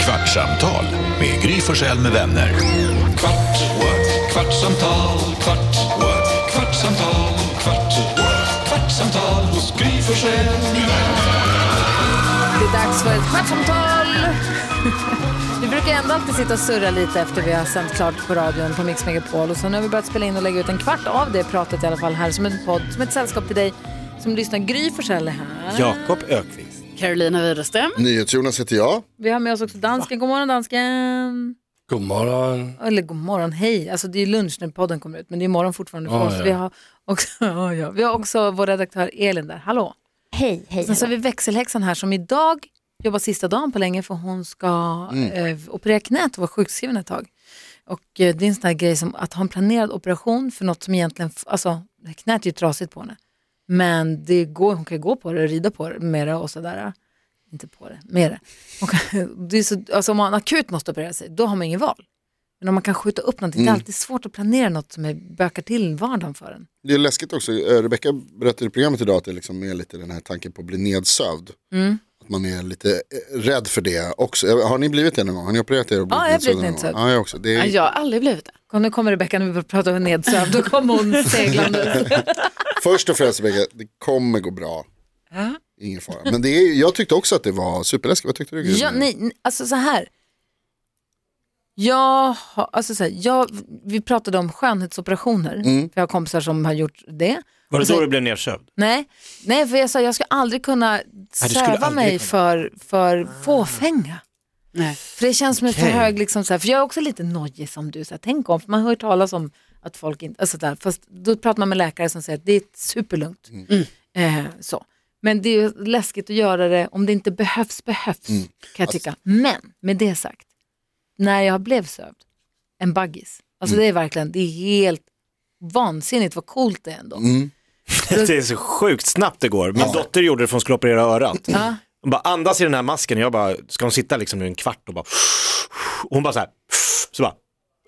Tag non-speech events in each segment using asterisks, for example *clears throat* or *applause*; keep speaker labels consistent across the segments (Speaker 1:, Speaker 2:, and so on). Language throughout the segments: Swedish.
Speaker 1: Kvartsamtal med Gry Forssell med vänner. Kvart, what? kvartsamtal, kvart, what? kvartsamtal, kvart, what? kvartsamtal hos Gry Forssell med vänner.
Speaker 2: Det är dags för ett kvartsamtal. Vi brukar ändå alltid sitta och surra lite efter vi har sänt klart på radion på Mix Megapol. Och så nu har vi börjat spela in och lägga ut en kvart av det pratet i alla fall här som en podd, som ett sällskap till dig som lyssnar. Gry Forssell är här.
Speaker 3: Jakob Ökvist.
Speaker 4: Carolina Widerström.
Speaker 5: NyhetsJonas heter jag.
Speaker 2: Vi har med oss också dansken. God morgon dansken.
Speaker 6: God morgon.
Speaker 2: Eller god morgon, hej. Alltså det är lunch när podden kommer ut, men det är morgon fortfarande för
Speaker 6: Ja,
Speaker 2: oss.
Speaker 6: ja.
Speaker 2: Vi, har också, *laughs* ja, ja. vi har också vår redaktör Elin där. Hallå.
Speaker 4: Hej, hej.
Speaker 2: Sen så har vi växelhäxan här som idag jobbar sista dagen på länge för hon ska
Speaker 6: Mm.
Speaker 2: eh, operera knät och vara sjukskriven ett tag. Och eh, det är en sån här grej som att ha en planerad operation för något som egentligen, f- alltså knät är ju trasigt på henne. Men det går, hon kan ju gå på det och rida på det med det och sådär. Inte på det, med det. Hon kan, *laughs* det är så, alltså om man akut måste operera sig, då har man ingen val. Men om man kan skjuta upp någonting, det
Speaker 4: Mm.
Speaker 2: är alltid svårt att planera något som är, bökar till vardagen för en.
Speaker 5: Det är läskigt också, Eh, Rebecca berättade i programmet idag att det liksom är lite den här tanken på att bli nedsövd.
Speaker 2: Mm.
Speaker 5: Att man är lite eh, rädd för det också. Eh, Har ni blivit det någon gång? Har ni opererat er och blivit
Speaker 2: Ja, jag har
Speaker 5: nedsövda
Speaker 2: blivit
Speaker 5: någon gång?
Speaker 2: nedsövd.
Speaker 5: Ja, jag också. Det är
Speaker 4: Jag har aldrig blivit det.
Speaker 2: Och nu kommer Rebecka när vi pratar om nedsövd, då kommer
Speaker 4: *laughs*
Speaker 2: hon seglande.
Speaker 5: Först och främst Rebecca, det kommer gå bra. Ingen fara. Men det är, jag tyckte också att det var superläskigt. Vad tyckte du? Gry?
Speaker 2: Ja, nej, nej, alltså så här. Jag, har- alltså så här jag, vi pratade om skönhetsoperationer,
Speaker 4: Mm.
Speaker 2: för jag har kompisar som har gjort det.
Speaker 3: Var det
Speaker 2: Och så-
Speaker 3: då du blev nedsövd?
Speaker 2: Nej, nej för jag sa jag skulle aldrig kunna
Speaker 3: skulle
Speaker 2: söva
Speaker 3: aldrig
Speaker 2: mig
Speaker 3: kunna. Ah.
Speaker 2: för, för fåfänga.
Speaker 4: Nej.
Speaker 2: För det känns som en för
Speaker 3: Okej.
Speaker 2: hög, liksom, så här, för jag är också lite nojig som du, så här, tänk om, för man har hört talas om att folk inte, alltså där, fast då pratar man med läkare som säger att det är superlugnt.
Speaker 3: Mm.
Speaker 2: Eh, så. Men det är ju läskigt att göra det om det inte behövs, behövs,
Speaker 3: Mm.
Speaker 2: kan
Speaker 3: Alltså-
Speaker 2: jag tycka. Men med det sagt, när jag blev sövd, en baggis, alltså
Speaker 3: Mm.
Speaker 2: det är verkligen, det är helt vansinnigt vad coolt det är ändå.
Speaker 3: *laughs* Mm. Det är så sjukt snabbt det går. Min dotter gjorde det för hon skulle operera örat.
Speaker 2: Ja.
Speaker 3: Hon bara andas i den här masken och jag bara, ska hon sitta liksom nu en kvart och bara, och hon bara så här, så bara,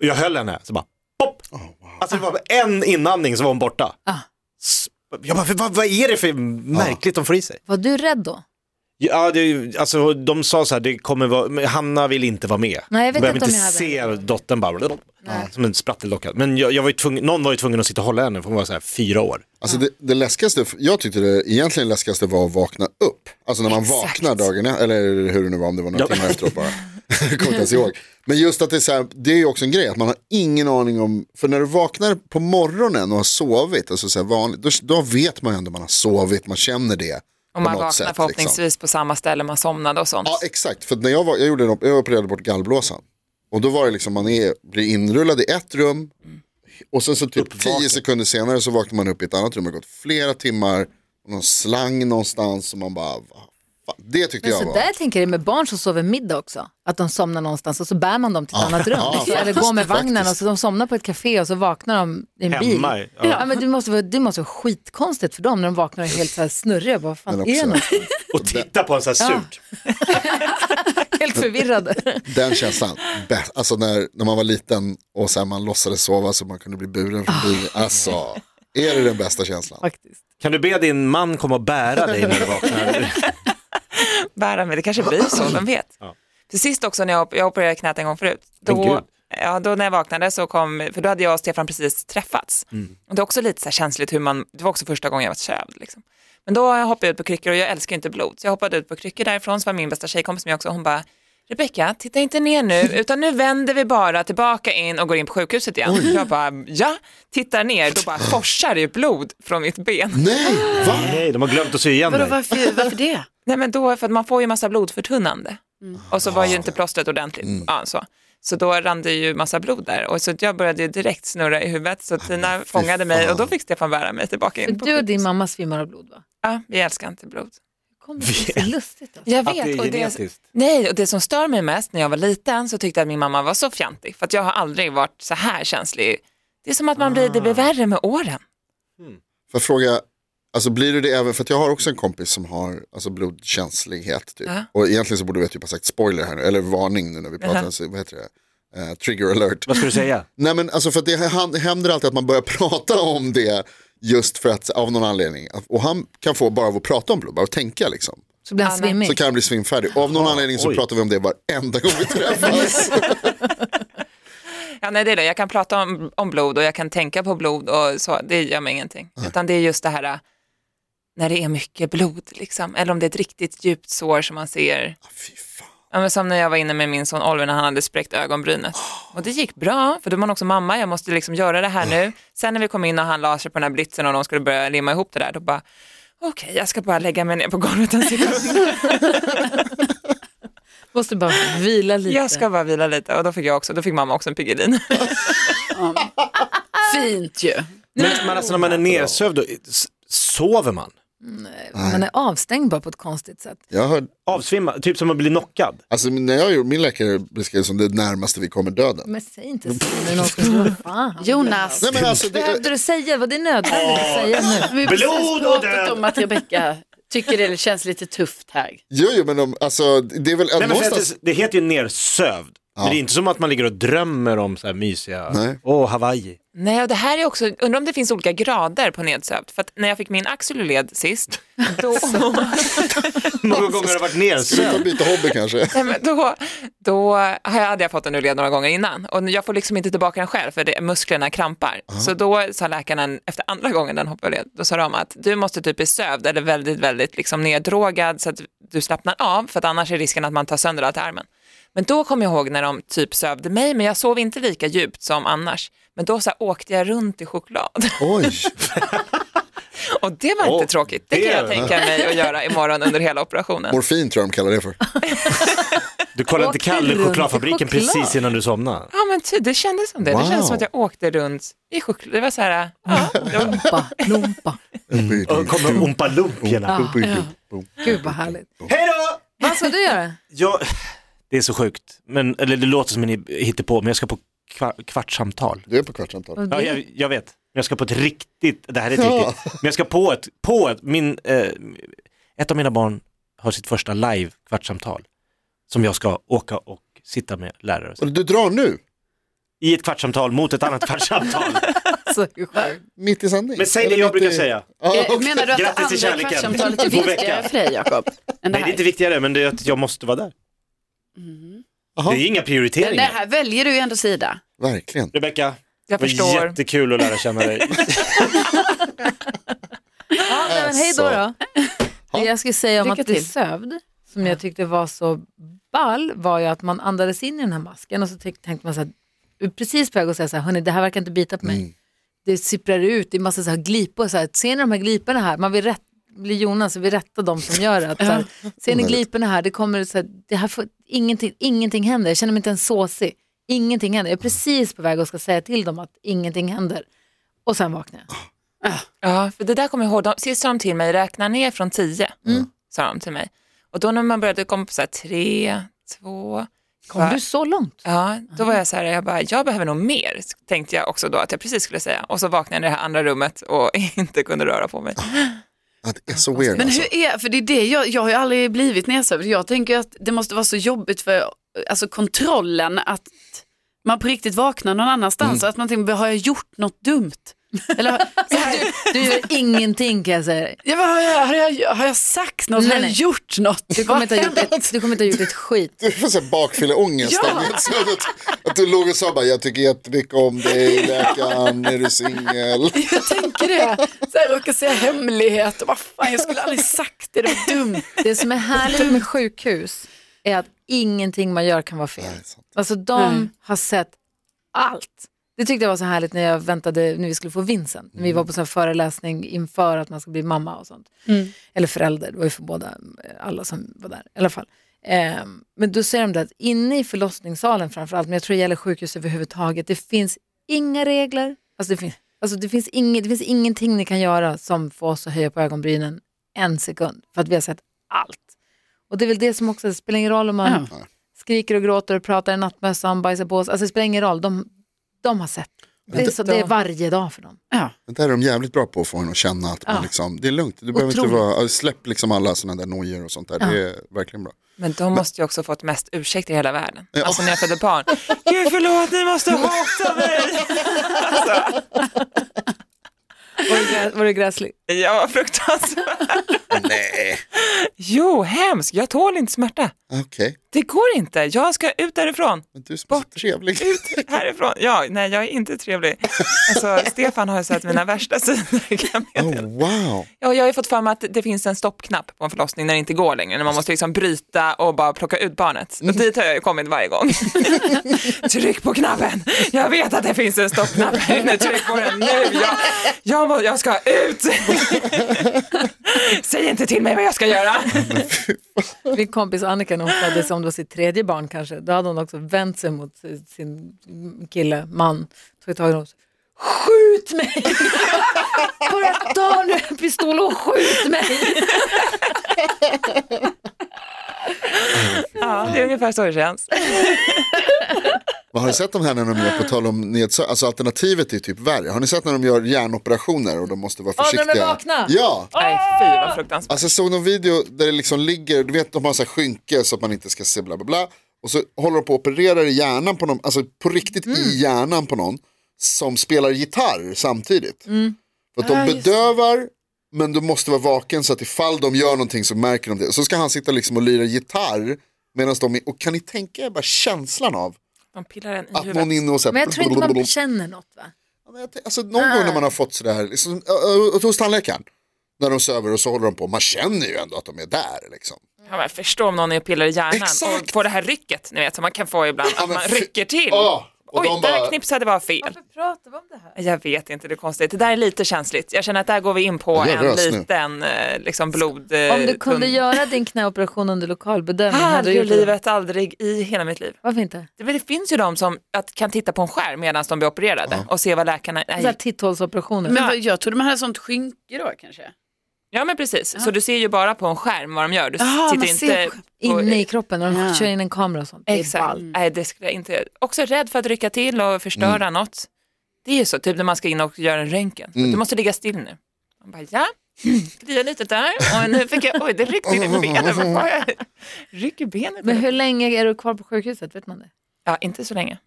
Speaker 3: och jag höll henne, så bara, pop.
Speaker 2: Oh,
Speaker 3: Alltså det var bara en inandning så var hon borta.
Speaker 2: Ah.
Speaker 3: S- Jag bara, vad, vad är det för märkligt de får i sig?
Speaker 2: Var du rädd då?
Speaker 3: Ja, det, alltså de sa så här, det kommer vara, men Hanna vill inte vara med.
Speaker 2: Nej, jag vet
Speaker 3: Hon behöver
Speaker 2: inte om
Speaker 3: inte
Speaker 2: jag
Speaker 3: se dottern bara, som en spratteldocka. Men jag, jag var ju tvungen, någon var ju tvungen att sitta och hålla henne för hon var så här fyra år.
Speaker 5: Alltså det, det läskigaste, jag tyckte det egentligen läskigaste var att vakna upp. Alltså när man
Speaker 2: Exakt.
Speaker 5: vaknar dagen, e- eller hur det nu var, om det var några
Speaker 3: Ja.
Speaker 5: timmar efteråt
Speaker 7: *laughs*
Speaker 5: bara. *laughs* Jag kommer inte ens ihåg. Men just att det är så här, det är ju också en grej, att man har ingen aning om, för när du vaknar på morgonen och har sovit, alltså så här vanligt, då, då vet man ju ändå man har sovit, man känner det.
Speaker 7: Om
Speaker 5: på
Speaker 7: man
Speaker 5: något
Speaker 7: vaknar
Speaker 5: sätt,
Speaker 7: förhoppningsvis
Speaker 5: Liksom.
Speaker 7: på samma ställe man somnade och sånt.
Speaker 5: Ja exakt, för när jag, var, jag, gjorde en, op- jag opererade bort gallblåsan. Och då var det liksom, man är, blir inrullad i ett rum, och sen så typ
Speaker 3: Uppvaken.
Speaker 5: tio sekunder senare så vaknar man upp i ett annat rum. Det har gått flera timmar, och någon slang någonstans och man bara, "Va fan?" det tyckte
Speaker 2: Men
Speaker 5: jag
Speaker 2: så
Speaker 5: var.
Speaker 2: där tänker jag med barn som sover middag också. Att de somnar någonstans och så bär man dem till ett annat rum.
Speaker 5: ja,
Speaker 2: Eller går med
Speaker 5: faktiskt,
Speaker 2: vagnen och
Speaker 5: faktiskt.
Speaker 2: så de somnar på ett café och så vaknar de i en bil.
Speaker 3: Hemma,
Speaker 2: Ja.
Speaker 3: ja.
Speaker 2: men det, måste vara, det måste vara skitkonstigt för dem när de vaknar och är helt så här snurriga. Vad fan
Speaker 5: Men
Speaker 2: är det?
Speaker 5: också,
Speaker 2: nu?
Speaker 3: Och titta på en så här
Speaker 2: Ja.
Speaker 3: surt.
Speaker 2: Helt förvirrade.
Speaker 5: *laughs* den känslan, bäst. Alltså när, när man var liten och sen man låtsades sova så man kunde bli buren
Speaker 2: Ah.
Speaker 5: från bilen. Alltså, är det den bästa känslan?
Speaker 2: Faktiskt.
Speaker 3: Kan du be din man komma och bära dig när du vaknar?
Speaker 7: Bära med, det kanske blir
Speaker 5: *clears throat*
Speaker 7: så, vem vet.
Speaker 3: Ja.
Speaker 7: För sist också när jag, jag opererade knät en gång förut,
Speaker 3: Men
Speaker 7: då,
Speaker 3: gud.
Speaker 7: ja, då när jag vaknade så kom, för då hade jag och Stefan precis träffats.
Speaker 5: Mm.
Speaker 7: Och det är också lite så här känsligt hur man, det var också första gången jag var sövd. Liksom. Men då hoppade jag ut på kryckor och jag älskar ju inte blod, så jag hoppade ut på kryckor därifrån, så var min bästa tjejkompis med också, hon bara, Rebecka, titta inte
Speaker 5: *laughs*
Speaker 7: ner nu, utan nu vänder vi bara tillbaka in och går in på sjukhuset igen. Jag bara, ja, tittar ner, då
Speaker 5: *laughs*
Speaker 7: bara forsar det ju blod från mitt ben.
Speaker 5: Nej, va?
Speaker 3: Nej, de har glömt att sy igen
Speaker 4: Vadå,
Speaker 3: dig.
Speaker 4: varför, varför det?
Speaker 7: Nej men då, för att man får ju massa blodförtunnande. Och så var ju inte plåstret ordentligt.
Speaker 3: Mm.
Speaker 7: Ja, så. så då rann det ju massa blod där. Och så att jag började ju direkt snurra i huvudet. Så Tina fångade mig och då fick Stefan bära mig tillbaka
Speaker 2: För
Speaker 7: in på
Speaker 2: du och
Speaker 7: sjukhus.
Speaker 2: din mamma svimmar av blod va?
Speaker 7: Ja, vi älskar inte blod.
Speaker 2: Kom, det är så lustigt. Alltså.
Speaker 7: Jag
Speaker 3: Att det
Speaker 7: vet.
Speaker 3: är
Speaker 7: Och det,
Speaker 3: genetiskt.
Speaker 7: nej, och det som stör mig mest när jag var liten så tyckte jag att min mamma var så fjantig. För att jag har aldrig varit så här känslig. Det är som
Speaker 3: Ah.
Speaker 7: att man blir, det blir värre med åren.
Speaker 5: För fråga, alltså blir du det även, för att jag har också en kompis som har alltså blodkänslighet. Typ.
Speaker 7: Ja.
Speaker 5: Och egentligen så borde vi typ ha sagt spoiler här nu, eller varning nu när vi pratar, så, vad heter det? Eh, trigger alert.
Speaker 3: Vad ska du säga?
Speaker 5: Nej men alltså för att det han- händer alltid att man börjar *laughs* prata om det just för att av någon anledning. Och han kan få bara av att prata om blod, bara att tänka liksom.
Speaker 2: Så blir han
Speaker 7: Anna.
Speaker 2: svimmig.
Speaker 5: så kan han bli svimfärdig. Och av någon anledning så
Speaker 3: oj.
Speaker 5: pratar vi om det varenda gång vi träffas.
Speaker 7: Ja, nej, det är det. Jag kan prata om, om blod och jag kan tänka på blod och så, det gör mig ingenting. Utan det är just det här äh, när det är mycket blod, liksom. eller om det är ett riktigt djupt sår som man ser.
Speaker 5: Ah, Fy fan.
Speaker 7: Ja, men som när jag var inne med min son Oliver när han hade spräckt ögonbrynet.
Speaker 5: Ah.
Speaker 7: Och det gick bra, för då var man också mamma, jag måste liksom göra det här nu. Sen när vi kom in och han la sig på den här blitzen och de skulle börja limma ihop det där, då bara, okej, jag ska bara lägga mig ner på golvet en sekund.
Speaker 5: *laughs*
Speaker 2: Måste bara vila lite.
Speaker 7: Jag ska bara vila lite. Och då fick jag också, då fick mamma också en Piggelin.
Speaker 2: Ah!
Speaker 4: Fint ju.
Speaker 3: Men, men alltså när man är nedsövd, då, s- sover man?
Speaker 2: Man är avstängd bara på ett konstigt sätt.
Speaker 5: Jag hörde,
Speaker 3: Avsvimmar, typ som att bli knockad.
Speaker 5: alltså, när jag gjorde, min läkare beskrev det som det närmaste vi kommer döden.
Speaker 2: Men säg inte så. Det är någon som säger, "Vad fan.
Speaker 4: Jonas.
Speaker 5: Nej, men alltså,
Speaker 2: Behövde
Speaker 5: det,
Speaker 2: du säga vad det är nödvändigt att säga nu?
Speaker 4: Vi har precis
Speaker 3: Blod och
Speaker 4: pratat
Speaker 3: död.
Speaker 4: om att Rebecka tycker det känns lite tufft här.
Speaker 5: jo, jo, men de, alltså, det är väl
Speaker 3: Nej, men för att
Speaker 5: någonstans...
Speaker 3: det, det heter ju nedsövd. Men det är inte som att man ligger och drömmer om så här mysiga,
Speaker 5: Nej.
Speaker 3: åh Hawaii.
Speaker 7: Nej, och det här är också, undrar om det finns olika grader på nedsövd. För att när jag fick min axelled sist, då,
Speaker 3: Hur många gånger har du varit
Speaker 5: Sluta
Speaker 3: nedsövd?
Speaker 5: byta hobby kanske.
Speaker 7: nej, men då, då har jag- hade jag fått en led några gånger innan och jag får liksom inte tillbaka den själv för det, musklerna krampar. Så då sa läkaren efter andra gången den hoppade led, då sa de att du måste typ bli sövd eller väldigt, väldigt liksom neddrogad så att du slappnar av för att annars är risken att man tar sönder allt i armen. Men då kom jag ihåg när de typ sövde mig, men jag sov inte lika djupt som annars. Men då så här, åkte jag runt i choklad. *laughs*
Speaker 5: Oj,
Speaker 7: Och det var
Speaker 3: Åh,
Speaker 7: inte tråkigt. Det,
Speaker 3: det-
Speaker 7: kan jag tänka mig att göra imorgon under hela operationen.
Speaker 5: morfin tror jag de kallar det för.
Speaker 3: Du kollade inte
Speaker 2: Åkte
Speaker 3: Kalle
Speaker 2: runt i
Speaker 3: chokladfabriken
Speaker 2: choklad.
Speaker 3: precis innan du somnade.
Speaker 7: Ja men ty, det kändes som det. Det
Speaker 5: Wow.
Speaker 7: kändes som att jag åkte runt i choklad. Det var så här, ja, det var,
Speaker 2: Lumpa, lumpa.
Speaker 3: Och kommer Oompa Loomporna.
Speaker 2: Gud vad härligt.
Speaker 3: Hej då!
Speaker 2: Vad ska du göra?
Speaker 3: Jag... Det är så sjukt, men, eller det låter som en hittepå, men jag ska på kvar- kvartssamtal.
Speaker 5: Du är på kvartsamtal.
Speaker 3: Ja, jag, jag vet. Jag ska på ett riktigt, det här är ett
Speaker 5: Ja.
Speaker 3: riktigt, men jag ska på ett, på ett, min, eh, ett av mina barn har sitt första live kvartssamtal som jag ska åka och sitta med lärare.
Speaker 5: Och Du drar nu,
Speaker 3: I ett kvartssamtal mot ett annat kvartssamtal.
Speaker 2: Så sjukt.
Speaker 5: mitt i sändning.
Speaker 3: Men säg det
Speaker 5: Eller
Speaker 3: jag
Speaker 5: mitt i-
Speaker 3: brukar säga.
Speaker 5: Ja,
Speaker 4: Eh, Menar du att det
Speaker 3: Grattis till
Speaker 4: andra
Speaker 3: kärleken.
Speaker 4: kvartssamtalet är
Speaker 3: God vecka.
Speaker 4: viktigare för dig, Jakob? än det
Speaker 3: Nej det är
Speaker 4: här?
Speaker 3: inte viktigare, men det är att jag måste vara där.
Speaker 5: Jaha.
Speaker 3: Det är inga
Speaker 4: Men det
Speaker 3: prioriteringar.
Speaker 4: här väljer du ju ändå sida.
Speaker 5: Verkligen.
Speaker 3: Rebecka, det
Speaker 7: jag
Speaker 3: var
Speaker 7: förstår.
Speaker 3: jättekul att lära känna dig.
Speaker 2: Ja, nej, men hej då då. Det jag skulle säga om
Speaker 4: Lycka
Speaker 2: att bli
Speaker 4: till.
Speaker 2: sövd, som jag tyckte var så ball, var ju att man andades in i den här masken och så tyck- tänkte man så här, precis på väg att säga så här, hörni det här verkar inte bita på mig. Det sipprar ut, det är massa så här glipor, så här, ser ni de här gliporna här? Man vill rätt, blir Jonas och vill rätta de som gör det. Att, så här, ser ni gliporna här? Det kommer så här, det här får, ingenting, ingenting händer, jag känner mig inte ens såsig. Ingenting händer, jag är precis på väg att ska säga till dem att ingenting händer. Och sen vaknar jag.
Speaker 7: Ja, för det där kommer jag ihåg. De, sist sa de till mig, räkna ner från tio, sa de till mig. Och då när man började komma på så här tre, två,
Speaker 2: Kom du så långt?
Speaker 7: Ja, då var jag så här, jag bara, jag behöver nog mer, tänkte jag också då att jag precis skulle säga. Och så vaknade jag i det här andra rummet och *laughs* inte kunde röra på mig.
Speaker 5: Ja, Det är så weird
Speaker 4: Men
Speaker 5: alltså.
Speaker 4: hur är, för det är det jag, jag har ju aldrig blivit nedsövd. Jag tänker att det måste vara så jobbigt för alltså, kontrollen att man på riktigt vaknar någon annanstans
Speaker 2: Mm.
Speaker 4: och att man tänker, har jag gjort något dumt? Eller
Speaker 2: *laughs*
Speaker 4: så här,
Speaker 2: Du gör ingenting kan jag säga dig.
Speaker 4: jag bara, har, jag, har, jag, har jag sagt något?
Speaker 2: Nej,
Speaker 4: har jag
Speaker 2: nej.
Speaker 4: gjort något?
Speaker 2: Du kommer, inte ha gjort ett, du kommer inte ha gjort ett skit.
Speaker 5: Du får så här bakfylleångest.
Speaker 4: Ja.
Speaker 5: av det. Så Att, att du låg och sa bara, jag tycker jättemycket om dig, läkaren, är du singel?
Speaker 4: Jag tänker det. Så här, råkar säga hemlighet och vad fan, jag skulle aldrig sagt det, det var dumt.
Speaker 2: Det som är härligt med sjukhus är att ingenting man gör kan vara fel. Alltså de
Speaker 4: Nej.
Speaker 2: har sett allt. Det tyckte jag var så härligt när jag väntade när vi skulle få Vincent. När vi var på sån här föreläsning inför att man ska bli mamma och sånt. Eller förälder, det var ju för båda, eh, alla som var där i alla fall. Ehm, men då säger de det att inne i förlossningssalen framförallt, men jag tror det gäller sjukhus överhuvudtaget, det finns inga regler. Alltså det finns, alltså det finns, inget, det finns ingenting ni kan göra som får oss att höja på ögonbrynen en sekund. För att vi har sett allt. Och det är väl det som också, det spelar ingen roll om man skriker och gråter och pratar i nattmössan, bajsar på sig. Alltså det spelar ingen roll, de, de har sett. Det är, så, det är varje dag för dem.
Speaker 4: Ja.
Speaker 5: Det där är de jävligt bra på att få en att känna att man liksom, det är lugnt, du behöver inte
Speaker 2: Otroligt.
Speaker 5: vara, släpp liksom alla sådana där nojor och sånt där, det är verkligen bra.
Speaker 7: Men de måste ju också fått mest ursäkt i hela världen. Alltså när jag födde *laughs* barn. Alltså. Gud förlåt, ni måste hata mig.
Speaker 2: Var det, grä, var det gräsligt?
Speaker 7: Jag var fruktansvärt.
Speaker 5: Nej,
Speaker 7: Jo, hemskt. Jag tål inte smärta.
Speaker 5: okej.
Speaker 7: Det går inte. Jag ska ut därifrån.
Speaker 5: Men du som är så trevlig.
Speaker 7: Ut härifrån. Ja, nej, jag är inte trevlig. Alltså, Stefan har ju sett mina värsta sidor. kan jag
Speaker 5: Oh, wow.
Speaker 7: Ja, jag har ju fått för mig att det finns en stoppknapp på en förlossning när det inte går längre, när man måste liksom bryta och bara plocka ut barnet.
Speaker 5: Mm.
Speaker 7: Och dit har jag ju kommit
Speaker 5: *laughs*
Speaker 7: varje gång. Tryck på knappen! Jag vet att det finns en stoppknapp, nu tryck på den nu! Jag, jag, må, jag ska ut! Säg inte till mig vad jag ska göra!
Speaker 2: *laughs* Min kompis Annika när hon föddes, om det var sitt tredje barn kanske, då hade hon också vänt sig mot sin kille, man, tog tag i honom och sa, skjut mig! *laughs* Bara ta nu en pistol och skjut mig!
Speaker 7: Ja, det är ungefär så det känns.
Speaker 5: Vad har ni sett de här när de gör, på tal om nedsö- alltså alternativet är typ värre. Har ni sett när de gör hjärnoperationer och de måste vara
Speaker 2: Ja, när de
Speaker 5: försiktiga?
Speaker 2: är vakna.
Speaker 5: Ja.
Speaker 7: Nej, fy vad fruktansvärt.
Speaker 5: Alltså jag såg någon video där det liksom ligger, du vet de har så här skynke så att man inte ska se bla bla bla. Och så håller de på och opererar i hjärnan på någon, alltså på riktigt
Speaker 2: Mm.
Speaker 5: i hjärnan på någon som spelar gitarr samtidigt.
Speaker 2: Mm.
Speaker 5: För
Speaker 2: Ah,
Speaker 5: att de bedövar men du måste vara vaken så att ifall de gör någonting så märker de det. Så ska han sitta liksom och lira gitarr medan de, är, och kan ni tänka er bara känslan av
Speaker 7: De pillar en i
Speaker 5: att någon är
Speaker 7: huvudet.
Speaker 5: inne och så här,
Speaker 2: Men jag tror inte
Speaker 5: *laughs*
Speaker 2: man känner något va?
Speaker 5: Ja, men jag t- Alltså någon gång när man har fått sådär, liksom, ö- ö- ö- hos tandläkaren, när de söver och så håller de på, man känner ju ändå att de är där liksom.
Speaker 7: Ja, men förstå om någon är och pillar i hjärnan
Speaker 5: Exakt.
Speaker 7: och får det här rycket, ni vet, som man kan få ibland,
Speaker 5: Ja,
Speaker 7: att
Speaker 5: men
Speaker 7: man
Speaker 5: fy-
Speaker 7: rycker till.
Speaker 5: Ja, och
Speaker 7: Oj,
Speaker 5: de
Speaker 7: där
Speaker 5: bara-
Speaker 7: knipsade var fel.
Speaker 2: *laughs* pratar vi om det här?
Speaker 7: Jag vet inte, det är konstigt. Det där är lite känsligt. Jag känner att där går vi in på
Speaker 5: Jag
Speaker 7: en
Speaker 5: rös nu.
Speaker 7: liten eh, liksom blod... eh,
Speaker 2: Om du kunde
Speaker 7: pund.
Speaker 2: göra din knäoperation under lokalbedömning, hade du
Speaker 7: Aldrig i
Speaker 2: gjort det?
Speaker 7: livet, aldrig i hela mitt liv.
Speaker 2: Varför inte?
Speaker 7: Det, det finns ju de som att, kan titta på en skärm medan de blir opererade och se vad läkarna...
Speaker 2: Så här
Speaker 7: Nej.
Speaker 2: titthålsoperationer. typ
Speaker 4: Men vad, jag trodde man hade sånt skynke då kanske.
Speaker 7: Ja men precis, så du ser ju bara på en skärm vad de gör. Du
Speaker 4: Jaha,
Speaker 7: tittar
Speaker 4: man ser
Speaker 7: inte...
Speaker 4: på-
Speaker 7: på-
Speaker 2: Inne i kroppen, när de
Speaker 4: Ja.
Speaker 2: kör in en kamera och sånt. Det är
Speaker 7: Exakt.
Speaker 2: ballt.
Speaker 7: Nej, det skulle jag inte... Också rädd för att rycka till och förstöra något. Det är ju så, typ när man ska in och göra en röntgen. Du måste ligga still nu. Man bara, ja, klia lite där och nu fick jag, oj det ryckte in i benet. Vad var jag? Ryck i benet.
Speaker 2: Men
Speaker 7: eller?
Speaker 2: hur länge är du kvar på sjukhuset? Vet man det?
Speaker 7: Ja, inte så länge.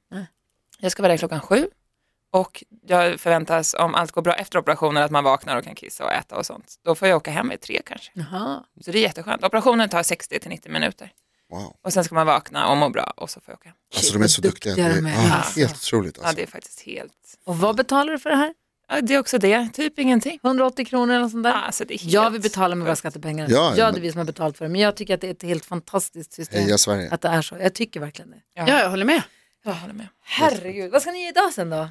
Speaker 7: Jag ska vara där klockan sju och jag förväntas, om allt går bra efter operationen, att man vaknar och kan kissa och äta och sånt. Då får jag åka hem vid tre kanske.
Speaker 2: Jaha.
Speaker 7: Så det är jätteskönt. Operationen tar 60 till 90 minuter
Speaker 5: Wow.
Speaker 7: och sen ska man vakna och må bra och så får jag åka hem.
Speaker 5: Alltså de är så
Speaker 2: vad
Speaker 5: duktiga.
Speaker 2: duktiga
Speaker 5: Det är,
Speaker 2: de är.
Speaker 5: ja,
Speaker 2: Alltså.
Speaker 5: helt otroligt.
Speaker 7: Ja,
Speaker 5: Alltså.
Speaker 7: det är faktiskt helt...
Speaker 2: Och vad betalar du för det här?
Speaker 7: Ja, det är också det, typ ingenting.
Speaker 2: 180 kronor eller något sånt där?
Speaker 7: Alltså, det är helt...
Speaker 2: Jag vill betala med våra skattepengar.
Speaker 5: Ja, ja,
Speaker 2: ja, det är
Speaker 5: men- Eh,
Speaker 2: vi som har betalt för det. Men jag tycker att det är ett helt fantastiskt system.
Speaker 5: Heja Sverige.
Speaker 2: Att det är så. Jag tycker verkligen det.
Speaker 7: Ja.
Speaker 4: Ja, jag håller med.
Speaker 7: Jag håller med.
Speaker 2: Herregud, vad ska ni göra idag sen då?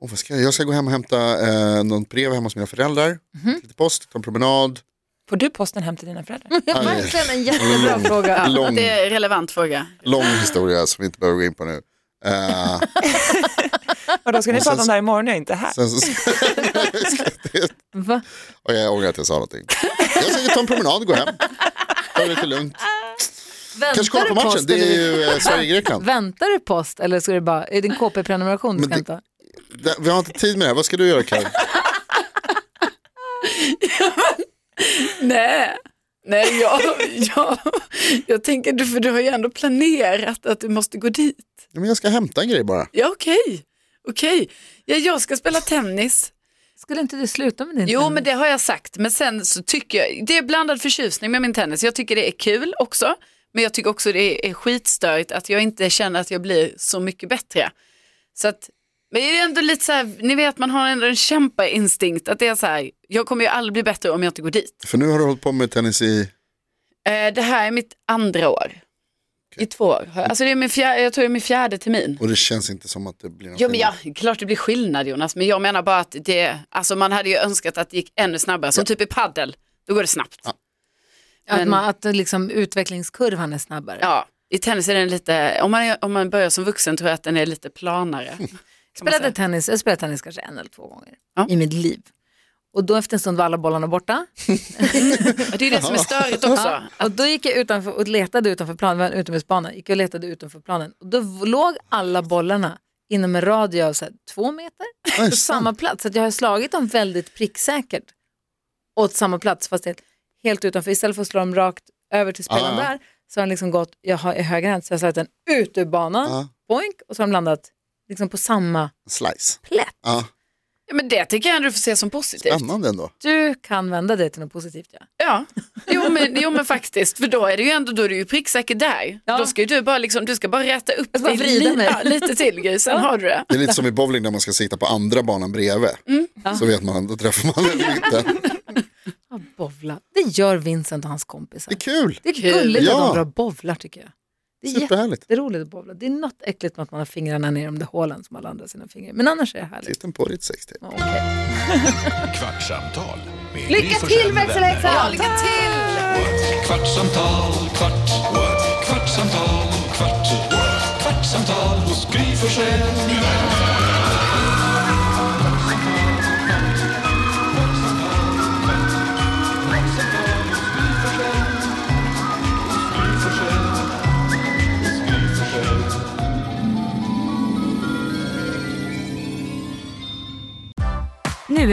Speaker 5: Åh, vad ska jag, jag ska gå hem och hämta eh, någon brev hemma hos mina föräldrar. Lite post, ta en promenad.
Speaker 7: Får du posten hem till dina
Speaker 2: *laughs*
Speaker 7: föräldrar?
Speaker 2: Ja,
Speaker 5: Aj.
Speaker 2: verkligen en jättebra fråga.
Speaker 5: Lång,
Speaker 4: Det är en relevant fråga.
Speaker 5: lång historia som vi inte behöver gå in på nu. Eh,
Speaker 7: Och då ska ni
Speaker 5: Och sen
Speaker 7: prata om det här imorgon, jag är inte här.
Speaker 5: sen så,
Speaker 2: *laughs* Va?
Speaker 5: och jag ångrar att jag sa någonting. Jag ska ta en promenad, gå hem. Ta det lite lugnt. Kanske
Speaker 2: Väntar
Speaker 5: kolla
Speaker 2: du
Speaker 5: på matchen,
Speaker 2: post?
Speaker 5: det är
Speaker 2: eller-
Speaker 5: ju eh, Sverige-Grekland.
Speaker 2: Väntar du post eller ska du bara, är din KP-prenumeration du
Speaker 5: Men
Speaker 2: ska
Speaker 5: det-
Speaker 2: hämta?
Speaker 5: Det- Vi har inte tid med det här, vad ska du göra Karin?
Speaker 4: Nej, nej jag, jag, jag tänker, du- för du har ju ändå planerat att du måste gå dit.
Speaker 5: Ja, men jag ska hämta en grej bara.
Speaker 4: Ja, okej. Okej, ja, jag ska spela tennis.
Speaker 2: Skulle inte du sluta med din
Speaker 4: Jo,
Speaker 2: tennis?
Speaker 4: men det har jag sagt. Men sen så tycker jag, det är blandad förtjusning med min tennis. Jag tycker det är kul också. Men jag tycker också det är skitstörigt att jag inte känner att jag blir så mycket bättre. Så att, men det är ändå lite så här, ni vet man har ändå en kämpainstinkt. Att det är så här, jag kommer ju aldrig bli bättre om jag inte går dit.
Speaker 5: För nu har du hållit på med tennis i...
Speaker 4: Eh, det här är mitt andra år. I två år. har jag- Alltså det är min fjärde, jag tror det är min fjärde termin.
Speaker 5: Och det känns inte som att det blir någon
Speaker 4: Jo men ja,
Speaker 5: skillnad.
Speaker 4: klart det blir skillnad Jonas, men jag menar bara att det, alltså man hade ju önskat att det gick ännu snabbare, som typ i paddel, då går det snabbt. Ja.
Speaker 2: Att, man, att liksom, utvecklingskurvan är snabbare.
Speaker 4: i tennis är den lite, om man, är, om man börjar som vuxen tror jag att den är lite *laughs* planare.
Speaker 2: Jag spelade tennis, jag spelade tennis kanske en eller två gånger
Speaker 4: Ja.
Speaker 2: i mitt liv. Och då efter en stund var alla bollarna borta.
Speaker 4: Och det är ju det som är störigt också.
Speaker 2: Och då gick jag utanför och letade utanför planen, det var en utomhusbana, gick jag och letade utanför planen. Och då v- låg alla bollarna inom en radie av så här, två meter
Speaker 5: Nej,
Speaker 2: på samma plats. Så att jag har slagit dem väldigt pricksäkert åt samma plats, fast helt, helt utanför. Istället för att slå dem rakt över till spelaren
Speaker 5: Ah, ja.
Speaker 2: där så har den liksom gått, jag har i högerhänt, så jag har slagit den ut ur banan,
Speaker 5: Ja.
Speaker 2: boink, och så har de landat liksom på samma
Speaker 5: Slice.
Speaker 2: plätt.
Speaker 5: Ja.
Speaker 4: Ja, men det tycker jag ändå du får se som positivt.
Speaker 5: Spännande ändå.
Speaker 2: Du kan vända det till något positivt. Ja.
Speaker 4: Ja, jo men, jo men faktiskt, för då är det ju ändå, då är du ju pricksäker där.
Speaker 2: Ja.
Speaker 4: Då ska ju du bara liksom, du ska bara räta upp
Speaker 2: ska bara vrida
Speaker 4: li-
Speaker 2: mig.
Speaker 4: ja, lite till Gry, sen har du det.
Speaker 5: Det är lite som i bowling när man ska sitta på andra banan bredvid.
Speaker 2: Mm.
Speaker 5: Så vet man, då träffar man en mitten.
Speaker 2: Ja, bovla. Det gör Vincent och hans kompisar.
Speaker 5: Det är kul.
Speaker 2: Det är gulligt
Speaker 5: Ja.
Speaker 2: att de drar bovlar tycker jag. Det är
Speaker 5: Superhärligt.
Speaker 2: jätteroligt att bovla. Det är något äckligt med att man har fingrarna ner i de där hålen som alla andra har sina fingrar i. Men annars är det härligt.
Speaker 5: Titta på ditt sextape.
Speaker 2: Ja, okej.
Speaker 1: Kvartsamtal med Gry
Speaker 2: Lycka
Speaker 1: Forssell
Speaker 2: till
Speaker 1: med vänner.
Speaker 2: växelhäxan!
Speaker 1: Kvartsamtal, kvart, what? kvartsamtal, kvart, what? kvartsamtal hos Gry Forssell med vänner.
Speaker 6: Nu